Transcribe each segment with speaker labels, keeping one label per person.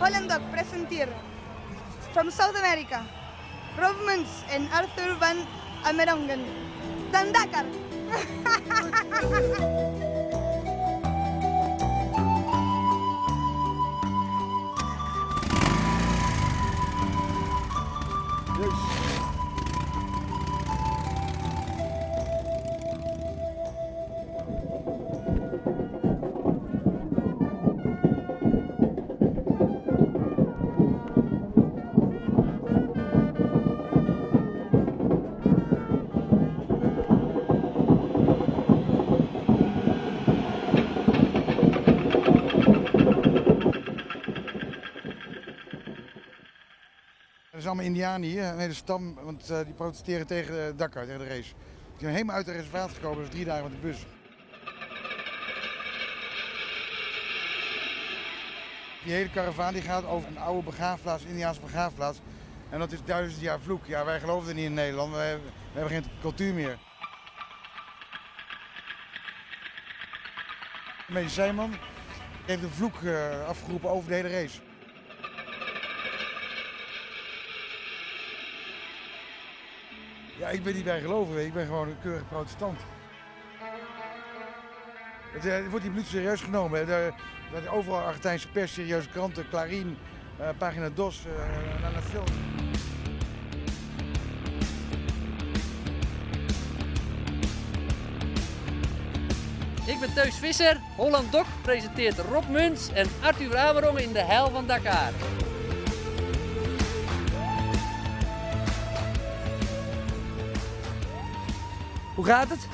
Speaker 1: Hollandok presenteert from South America Rovmans en Arthur van Amerongen. Dan Dakar.
Speaker 2: Er zijn allemaal indianen hier, een hele stam, want eh, die protesteren tegen eh, Dakar, tegen de race. Die zijn helemaal uit de reservaat gekomen, dus drie dagen met de bus. Die hele karavaan die gaat over een oude begraafplaats, Indiaanse begraafplaats. En dat is duizend jaar vloek. Ja, wij geloven er niet in Nederland, wij, hebben- we hebben geen cultuur meer. Medicijnman heeft een vloek eh, afgeroepen over de hele race. Ja, ik ben niet bijgelovig, weet je. ik ben gewoon een keurige protestant. Het, eh, wordt die politie serieus genomen. hè. Daar daar is overal Argentijnse pers, serieuze kranten, Clarín, eh, Pagina Dos, eh La Nación.
Speaker 3: Ik ben Teus Visser. Holland Doc presenteert Rob Muns en Arthur Amerongen in de hel van Dakar.
Speaker 4: Hoe gaat het?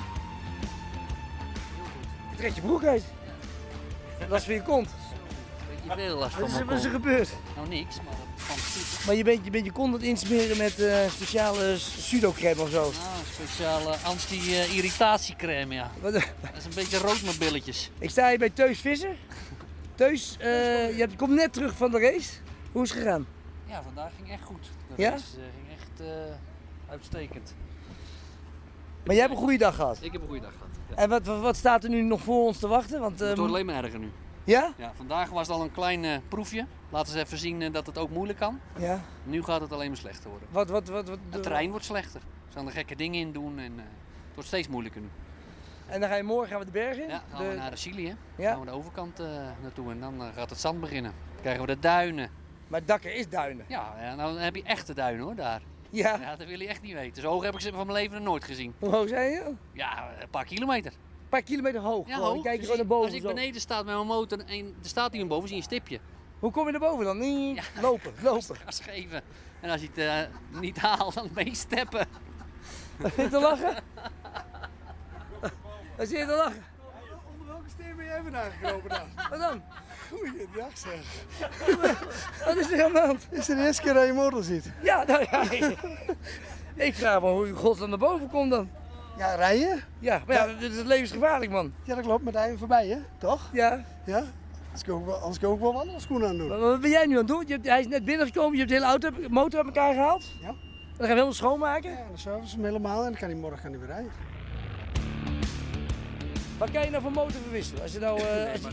Speaker 4: Je trekt je broek uit. Last van je kont.
Speaker 3: Beetje veel last
Speaker 4: Wat
Speaker 3: van
Speaker 4: is,
Speaker 3: mijn
Speaker 4: wat is er
Speaker 3: kont.
Speaker 4: gebeurd?
Speaker 3: Nou niks, maar dat kan goed.
Speaker 4: Maar je bent je, bent je kont aan het insmeren met eh, speciale pseudocrème of zo.
Speaker 3: Nou, een speciale anti-irritatiecrème, ja.
Speaker 4: Wat-
Speaker 3: Dat is een beetje rood met billetjes.
Speaker 4: Ik sta hier bij Teus Visser. Teus, eh, je komt net terug van de race. Hoe is het gegaan?
Speaker 3: Ja, vandaag ging echt goed. Dat
Speaker 4: Ja?
Speaker 3: ging echt eh, uitstekend.
Speaker 4: Maar jij hebt een goede dag gehad.
Speaker 3: Ik heb een goede dag gehad. Ja.
Speaker 4: En wat, wat, wat staat er nu nog voor ons te wachten? Want,
Speaker 3: Het
Speaker 4: ehm,
Speaker 3: wordt alleen maar erger nu.
Speaker 4: ja?
Speaker 3: Ja, vandaag was het al een klein eh, proefje. Laten we eens even zien eh, dat het ook moeilijk kan.
Speaker 4: Ja.
Speaker 3: Nu gaat het alleen maar slechter worden.
Speaker 4: Wat, wat, wat, wat,
Speaker 3: De trein wordt slechter. Ze gaan er gekke dingen in doen en eh, het wordt steeds moeilijker nu.
Speaker 4: En dan ga je morgen gaan we de bergen in?
Speaker 3: Ja, gaan we
Speaker 4: De-
Speaker 3: naar Chili, hè? Gaan
Speaker 4: ja?
Speaker 3: we de overkant eh, naartoe en dan eh, gaat het zand beginnen. Dan krijgen we de duinen.
Speaker 4: Maar Dakker is duinen.
Speaker 3: Ja, en dan heb je echte duinen hoor, daar.
Speaker 4: Ja.
Speaker 3: Ja, dat wil je echt niet weten. Zo hoog heb ik ze van mijn leven nog nooit gezien.
Speaker 4: Hoe hoog zijn je?
Speaker 3: Ja, een paar kilometer.
Speaker 4: Een paar kilometer hoog.
Speaker 3: Ja,
Speaker 4: gewoon.
Speaker 3: hoog.
Speaker 4: Dan kijk je
Speaker 3: Dus
Speaker 4: gewoon
Speaker 3: ik-
Speaker 4: naar boven.
Speaker 3: Als ik
Speaker 4: zo.
Speaker 3: beneden sta met mijn motor en er staat iemand boven, zie je een stipje.
Speaker 4: Hoe kom je naar boven dan? Nee, Lopen, lopen.
Speaker 3: Gas geven. En als je het eh, niet haalt, dan meesteppen.
Speaker 4: Zit je te lachen? Wat zit je te lachen?
Speaker 2: Onder welke steen ben jij vandaag gelopen dan?
Speaker 4: Wat dan?
Speaker 2: Goeiedag zeg.
Speaker 4: Wat is er aan de hand?
Speaker 2: Het is de eerste keer dat je model ziet.
Speaker 4: Ja, nou ja. Ik vraag me hoe je godsnaam naar boven komt dan.
Speaker 2: Ja, rijden?
Speaker 4: Ja, maar ja, dit is levensgevaarlijk man.
Speaker 2: Ja, dat klopt, met rijden voorbij, hè? Toch?
Speaker 4: Ja,
Speaker 2: Ja? Anders kan ik wel, anders kan ik wel wandelschoenen aan doen.
Speaker 4: maar wat ben jij nu aan het doen? Je hebt, hij is net binnengekomen, je hebt de hele auto, motor uit elkaar gehaald.
Speaker 2: Ja.
Speaker 4: Dan gaan we helemaal schoonmaken.
Speaker 2: Ja, dan service hem helemaal en dan kan hij morgen kan hij weer rijden.
Speaker 4: Wat kan je nou voor motor verwisselen? Als je nou... eh, als je-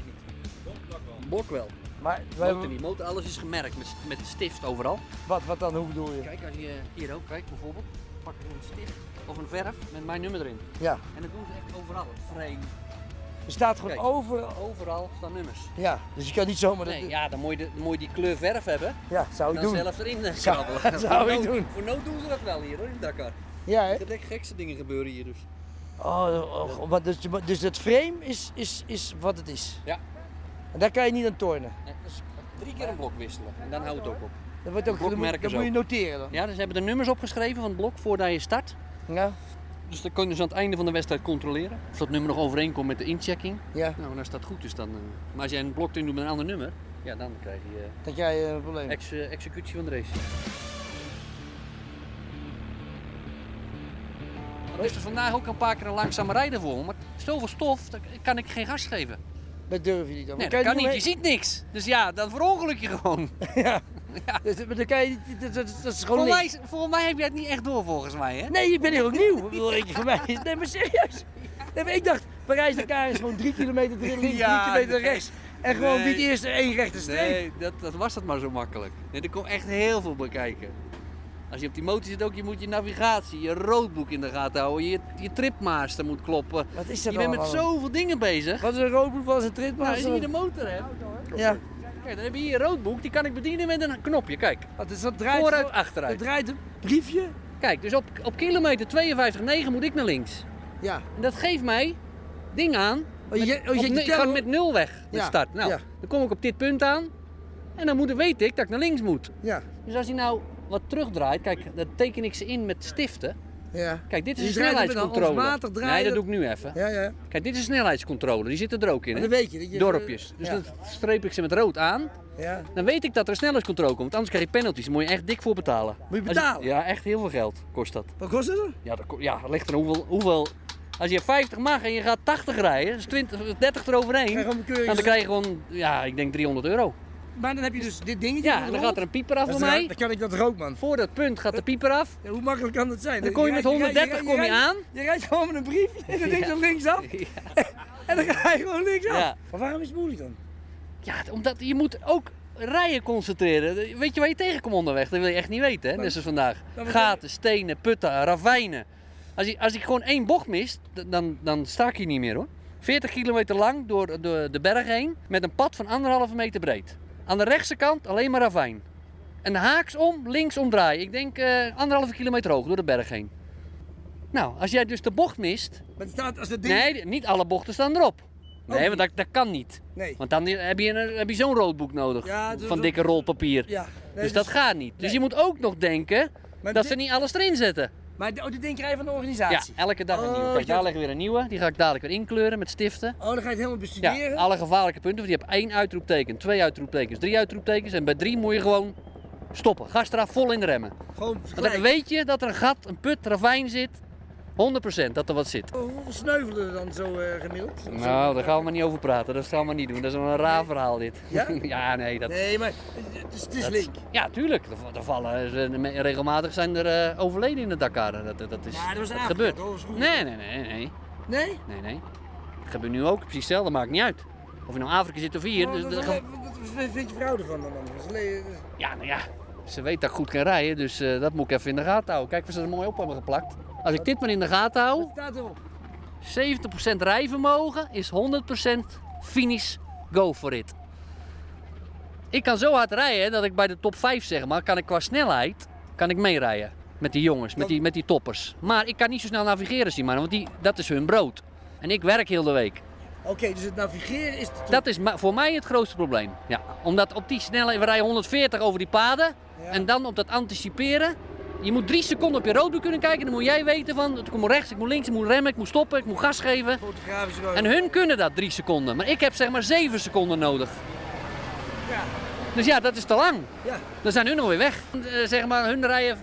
Speaker 3: Blok wel.
Speaker 4: maar,
Speaker 3: Motor niet. Motor, alles is gemerkt met, met de stift overal.
Speaker 4: wat, wat dan? Hoe bedoel je?
Speaker 3: Kijk, als je hier ook kijkt bijvoorbeeld, pak ik een stift of een verf met mijn nummer erin.
Speaker 4: Ja.
Speaker 3: En dat doen ze echt overal. Het frame,
Speaker 4: Er staat gewoon
Speaker 3: Kijk.
Speaker 4: overal...
Speaker 3: overal staan nummers.
Speaker 4: Ja, dus je kan niet zomaar... dat-
Speaker 3: Nee, ja, dan moet, je de, dan moet je die kleur verf hebben
Speaker 4: ja, zou
Speaker 3: en
Speaker 4: ik
Speaker 3: dan
Speaker 4: doen.
Speaker 3: zelf erin eh,
Speaker 4: Zou-
Speaker 3: krabbelen.
Speaker 4: zou
Speaker 3: Voor
Speaker 4: ik
Speaker 3: nood-
Speaker 4: doen.
Speaker 3: Voor nood doen ze dat wel hier hoor, in Dakar.
Speaker 4: Ja, hè?
Speaker 3: Er echt gekste dingen gebeuren hier dus.
Speaker 4: Oh, oh, oh, maar dus, dus het frame is, is, is wat het is.
Speaker 3: Ja.
Speaker 4: En daar kan je niet aan tornen.
Speaker 3: Nee, dus drie keer een blok wisselen en dan houdt het ook op.
Speaker 4: Dat, wordt ook, dat, moet,
Speaker 3: Blokmerken
Speaker 4: dat
Speaker 3: zo.
Speaker 4: moet je noteren dan.
Speaker 3: Ja, dus ze hebben de nummers opgeschreven van het blok voordat je start.
Speaker 4: Ja.
Speaker 3: Dus dan kunnen ze aan het einde van de wedstrijd controleren of dat nummer nog overeenkomt met de inchecking.
Speaker 4: ja.
Speaker 3: Nou, en als dat goed is dan... eh, maar als jij een blok erin doet met een ander nummer, ja, dan krijg je... eh,
Speaker 4: Dat jij eh, een probleem hebt.
Speaker 3: Ex- eh, executie van de race. Er is er vandaag ook een paar keer een langzame rijden voor, maar zoveel stof, daar kan ik geen gas geven.
Speaker 4: Dat durf je niet dan.
Speaker 3: Nee,
Speaker 4: Maar
Speaker 3: dat kan niet, je
Speaker 4: omheen-
Speaker 3: ziet niks. Dus ja, dan verongeluk je gewoon.
Speaker 4: Dus- maar dan kan je niet- dat, dat, dat is gewoon
Speaker 3: Volgens
Speaker 4: niks.
Speaker 3: mij, is- volgens mij heb je het niet echt door, volgens mij, hè?
Speaker 4: Nee, ik ben hier ook nieuw. Ik bedoel, ik, voor mij is, nee, maar serieus. Nee, maar ik dacht, Parijs elkaar is gewoon drie kilometer erin, drie,
Speaker 3: Ja,
Speaker 4: drie kilometer
Speaker 3: nee.
Speaker 4: rechts. En gewoon
Speaker 3: Nee.
Speaker 4: niet eerst één rechte streep.
Speaker 3: Nee, dat, dat was dat maar zo makkelijk. Nee, er komt echt heel veel bij kijken. Als je op die motor zit ook, je moet je navigatie, je roodboek in de gaten houden, je, je tripmaster moet kloppen.
Speaker 4: Wat is dat
Speaker 3: Je bent met
Speaker 4: allemaal?
Speaker 3: zoveel dingen bezig.
Speaker 4: Wat is een roodboek, wat is een
Speaker 3: Nou, als
Speaker 4: tritmaster?
Speaker 3: je hier de motor hebt,
Speaker 4: Ja,
Speaker 3: kijk, dan heb je hier een roodboek, die kan ik bedienen met een knopje, kijk.
Speaker 4: wat is dat draait
Speaker 3: Vooruit,
Speaker 4: gewoon-
Speaker 3: achteruit.
Speaker 4: Dat draait een briefje.
Speaker 3: Kijk, dus op, op kilometer 52,9 moet ik naar links.
Speaker 4: Ja.
Speaker 3: En dat geeft mij ding aan.
Speaker 4: Oh, je, oh, je,
Speaker 3: op
Speaker 4: je
Speaker 3: nu- ik
Speaker 4: teller-
Speaker 3: ga met nul weg, de
Speaker 4: Ja,
Speaker 3: start. Nou,
Speaker 4: ja.
Speaker 3: dan kom ik op dit punt aan en dan moet, weet ik dat ik naar links moet.
Speaker 4: Ja,
Speaker 3: Dus als hij nou wat terugdraait, kijk, dan teken ik ze in met stiften.
Speaker 4: ja.
Speaker 3: Kijk, dit is
Speaker 4: Je
Speaker 3: een
Speaker 4: draait hem met een
Speaker 3: snelheidscontrole.
Speaker 4: handmatig draaien.
Speaker 3: Nee, dat doe ik nu even.
Speaker 4: Ja, ja.
Speaker 3: Kijk, dit is een snelheidscontrole, die zitten er ook in.
Speaker 4: Maar
Speaker 3: hè?
Speaker 4: dan weet je dat je... eh,
Speaker 3: Dorpjes. Dus
Speaker 4: ja.
Speaker 3: dan streep ik ze met rood aan.
Speaker 4: Ja.
Speaker 3: Dan weet ik dat er een snelheidscontrole komt. Anders krijg je penalties. Daar moet je echt dik voor betalen.
Speaker 4: Moet je
Speaker 3: Als
Speaker 4: betalen?
Speaker 3: ja, echt heel veel geld kost dat.
Speaker 4: Wat kost het dan?
Speaker 3: Ja, dat ko- ja ligt er hoeveel, hoeveel. Als je 50 mag en je gaat 80 rijden, dus 20, 30 eroverheen.
Speaker 4: Krijg je een keuring.
Speaker 3: dan krijg je gewoon, ja, ik denk 300 euro.
Speaker 4: Maar dan heb je dus dit dingetje.
Speaker 3: Ja, en dan gaat er een pieper af
Speaker 4: Dat
Speaker 3: voor
Speaker 4: is raar.
Speaker 3: mij.
Speaker 4: Dan kan ik dat rook, man.
Speaker 3: Voor dat punt gaat de pieper af.
Speaker 4: Ja, hoe makkelijk kan dat zijn?
Speaker 3: Dan kom je met
Speaker 4: rijdt-
Speaker 3: 130
Speaker 4: rijdt-
Speaker 3: kom je
Speaker 4: rijdt-
Speaker 3: aan.
Speaker 4: Je rijdt gewoon met een briefje en dan denk je linksaf.
Speaker 3: Ja.
Speaker 4: En dan ga je gewoon linksaf.
Speaker 3: Ja.
Speaker 4: Maar waarom is het moeilijk dan?
Speaker 3: Ja, omdat je moet ook rijden concentreren. Weet je waar je tegenkomt onderweg? Dat wil je echt niet weten, hè? Net zoals vandaag.
Speaker 4: Dan-
Speaker 3: Gaten, stenen, putten, ravijnen. Als ik, als ik gewoon één bocht mis, d- dan, dan sta ik hier niet meer hoor. 40 kilometer lang door de, de berg heen met een pad van anderhalve meter breed. Aan de rechtse kant alleen maar ravijn. En haaks om, links omdraaien. Ik denk eh, anderhalve kilometer hoog door de berg heen. Nou, als jij dus de bocht mist.
Speaker 4: Maar het staat als dat ding...
Speaker 3: Nee, niet alle bochten staan erop. Nee, want dat, dat kan niet.
Speaker 4: Nee.
Speaker 3: Want dan heb je, een- heb je zo'n roodboek nodig.
Speaker 4: Ja, dus
Speaker 3: van
Speaker 4: dat-
Speaker 3: dikke rol papier.
Speaker 4: Ja. Nee,
Speaker 3: dus dat gaat niet. Dus je moet ook nog denken
Speaker 4: Maar
Speaker 3: dat
Speaker 4: dit-
Speaker 3: ze niet alles erin zetten.
Speaker 4: Maar de- oh, dit ding krijg je van de
Speaker 3: Ja,
Speaker 4: organisatie.
Speaker 3: elke dag een
Speaker 4: Oh,
Speaker 3: nieuwe. Kijk,
Speaker 4: dat-
Speaker 3: daar leggen we weer een nieuwe. Die ga ik dadelijk weer inkleuren met stiften.
Speaker 4: Oh, dan ga je het helemaal
Speaker 3: Ja,
Speaker 4: bestuderen.
Speaker 3: alle gevaarlijke punten. Want je hebt één uitroepteken, twee uitroeptekens, drie uitroeptekens. En bij drie moet je gewoon stoppen. Gas eraf, vol in de remmen.
Speaker 4: Gewoon
Speaker 3: Want dan
Speaker 4: gelijk.
Speaker 3: weet je dat er een gat, een put, ravijn zit. 100% dat er wat zit.
Speaker 4: Oh, Hoeveel sneuvelen er dan zo eh, gemiddeld?
Speaker 3: Nou, daar gaan we maar niet over praten. Dat gaan we niet doen. Dat is wel een raar verhaal dit.
Speaker 4: Ja?
Speaker 3: ja nee, dat,
Speaker 4: Nee, maar het is, het is
Speaker 3: Dat-
Speaker 4: link.
Speaker 3: Ja, tuurlijk. Er, er vallen, er- regelmatig zijn er eh, overleden in de Dakar. Dat, dat, dat is,
Speaker 4: Ja, dat was in Afrika,
Speaker 3: gebeurt.
Speaker 4: toch? Dat was vroeger.
Speaker 3: nee, nee, nee, nee,
Speaker 4: Nee?
Speaker 3: nee, nee. Dat gebeurt nu ook precies hetzelfde, maakt niet uit. Of je nou in Afrika zit of hier.
Speaker 4: Oh,
Speaker 3: dus
Speaker 4: dat-
Speaker 3: dat-
Speaker 4: dat- dat- Wat vind je vrouw ervan dan? Dat is le-
Speaker 3: ja, nou ja, ze weet dat ik goed kan rijden, dus eh, dat moet ik even in de gaten houden. Kijk of ze er mooi op hebben geplakt. Als ik dit maar in de gaten
Speaker 4: Wat
Speaker 3: hou,
Speaker 4: staat erop?
Speaker 3: 70% rijvermogen is 100% finish go for it. Ik kan zo hard rijden dat ik bij de top 5 zeg maar, kan ik qua snelheid kan ik meerijden. Met die jongens, met die, met die toppers. Maar ik kan niet zo snel navigeren, Simon, want die, dat is hun brood. En ik werk heel de week.
Speaker 4: Oké, dus het navigeren is... de-
Speaker 3: Dat is ma- voor mij het grootste probleem. Ja, omdat op die snelheid, we rijden 140 over die paden.
Speaker 4: Ja.
Speaker 3: En dan op dat anticiperen. Je moet drie seconden op je roodboek kunnen kijken. Dan moet jij weten van, ik moet rechts, ik moet links, ik moet remmen, ik moet stoppen, ik moet gas geven.
Speaker 4: Fotografisch gewoon.
Speaker 3: En hun kunnen dat drie seconden, maar ik heb zeg maar zeven seconden nodig.
Speaker 4: Ja.
Speaker 3: Dus ja, dat is te lang.
Speaker 4: Ja.
Speaker 3: Dan zijn hun alweer weg. Eh, Zeg maar, hun rijden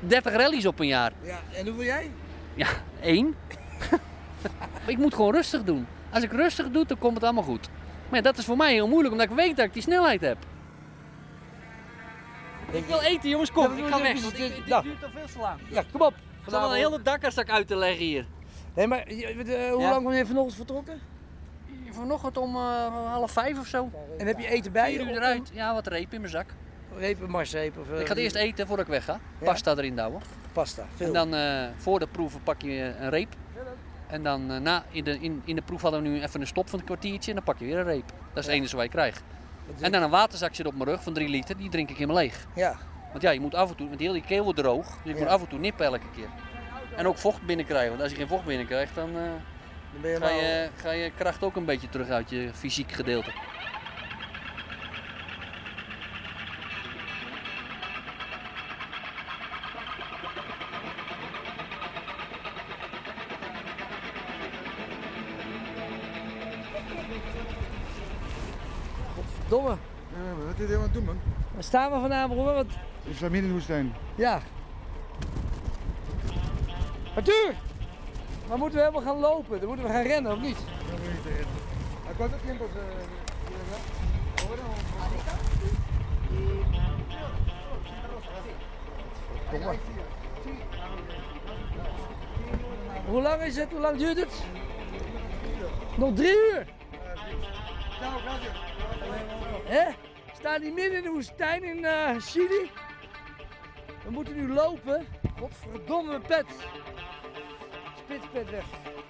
Speaker 3: 30 rallies op een jaar.
Speaker 4: ja. En hoeveel jij?
Speaker 3: Ja, één. ik moet gewoon rustig doen. Als ik rustig doe, dan komt het allemaal goed. Maar ja, dat is voor mij heel moeilijk, omdat ik weet dat ik die snelheid heb. Ik wil eten, jongens, kom.
Speaker 4: Ja,
Speaker 3: ik ga weg.
Speaker 4: dit-
Speaker 3: want ik-
Speaker 4: dit-
Speaker 3: Dit
Speaker 4: nou.
Speaker 3: duurt al veel te lang.
Speaker 4: Ja, kom op.
Speaker 3: Ik zal wel een hele dakkerstak uit te leggen hier.
Speaker 4: Nee, maar je- weet, eh, hoe
Speaker 3: Ja.
Speaker 4: lang ben je vanochtend vertrokken?
Speaker 3: Vanochtend om eh, half vijf of zo.
Speaker 4: En heb je eten bij je?
Speaker 3: Vier uur eruit. Ja, wat reep in mijn zak.
Speaker 4: Repen, marsreep of... eh,
Speaker 3: Ik ga het eerst eten voordat ik wegga.
Speaker 4: Ja?
Speaker 3: Pasta erin douwen.
Speaker 4: Pasta,
Speaker 3: En
Speaker 4: veel.
Speaker 3: dan eh, voor de proeven pak je een reep. En dan eh, na, in, de, in, in de proef hadden we nu even een stop van een kwartiertje en dan pak je weer een reep. Dat is het enige wat je krijgt.
Speaker 4: Dat is-
Speaker 3: En dan een waterzakje op mijn rug van 3 liter, die drink ik helemaal leeg.
Speaker 4: Ja.
Speaker 3: Want ja, je moet af en toe, want heel die keel wordt droog, dus ik
Speaker 4: Ja.
Speaker 3: moet af en toe nippen elke keer. En ook vocht binnenkrijgen, want als je geen vocht binnenkrijgt, dan eh,
Speaker 4: Dan ben je
Speaker 3: ga,
Speaker 4: nou...
Speaker 3: je, ga je kracht ook een beetje terug uit je fysiek gedeelte.
Speaker 4: Domme.
Speaker 2: Eh, Wat is dit helemaal doen, man?
Speaker 4: Waar staan we vanavond hoor? Want...
Speaker 2: Ik sta midden in de woestijn.
Speaker 4: Ja. Arthur! Maar moeten we helemaal gaan lopen? Dan moeten we gaan rennen of niet?
Speaker 2: Ik was ook tiempos. eh,
Speaker 4: Hoe lang is het? Hoe lang duurt het? Nog drie uur.
Speaker 2: Ciao, grazie.
Speaker 4: Hè? Staan die midden in de woestijn in eh, Chili? We moeten nu lopen. Godverdomme pet. Spitspet weg.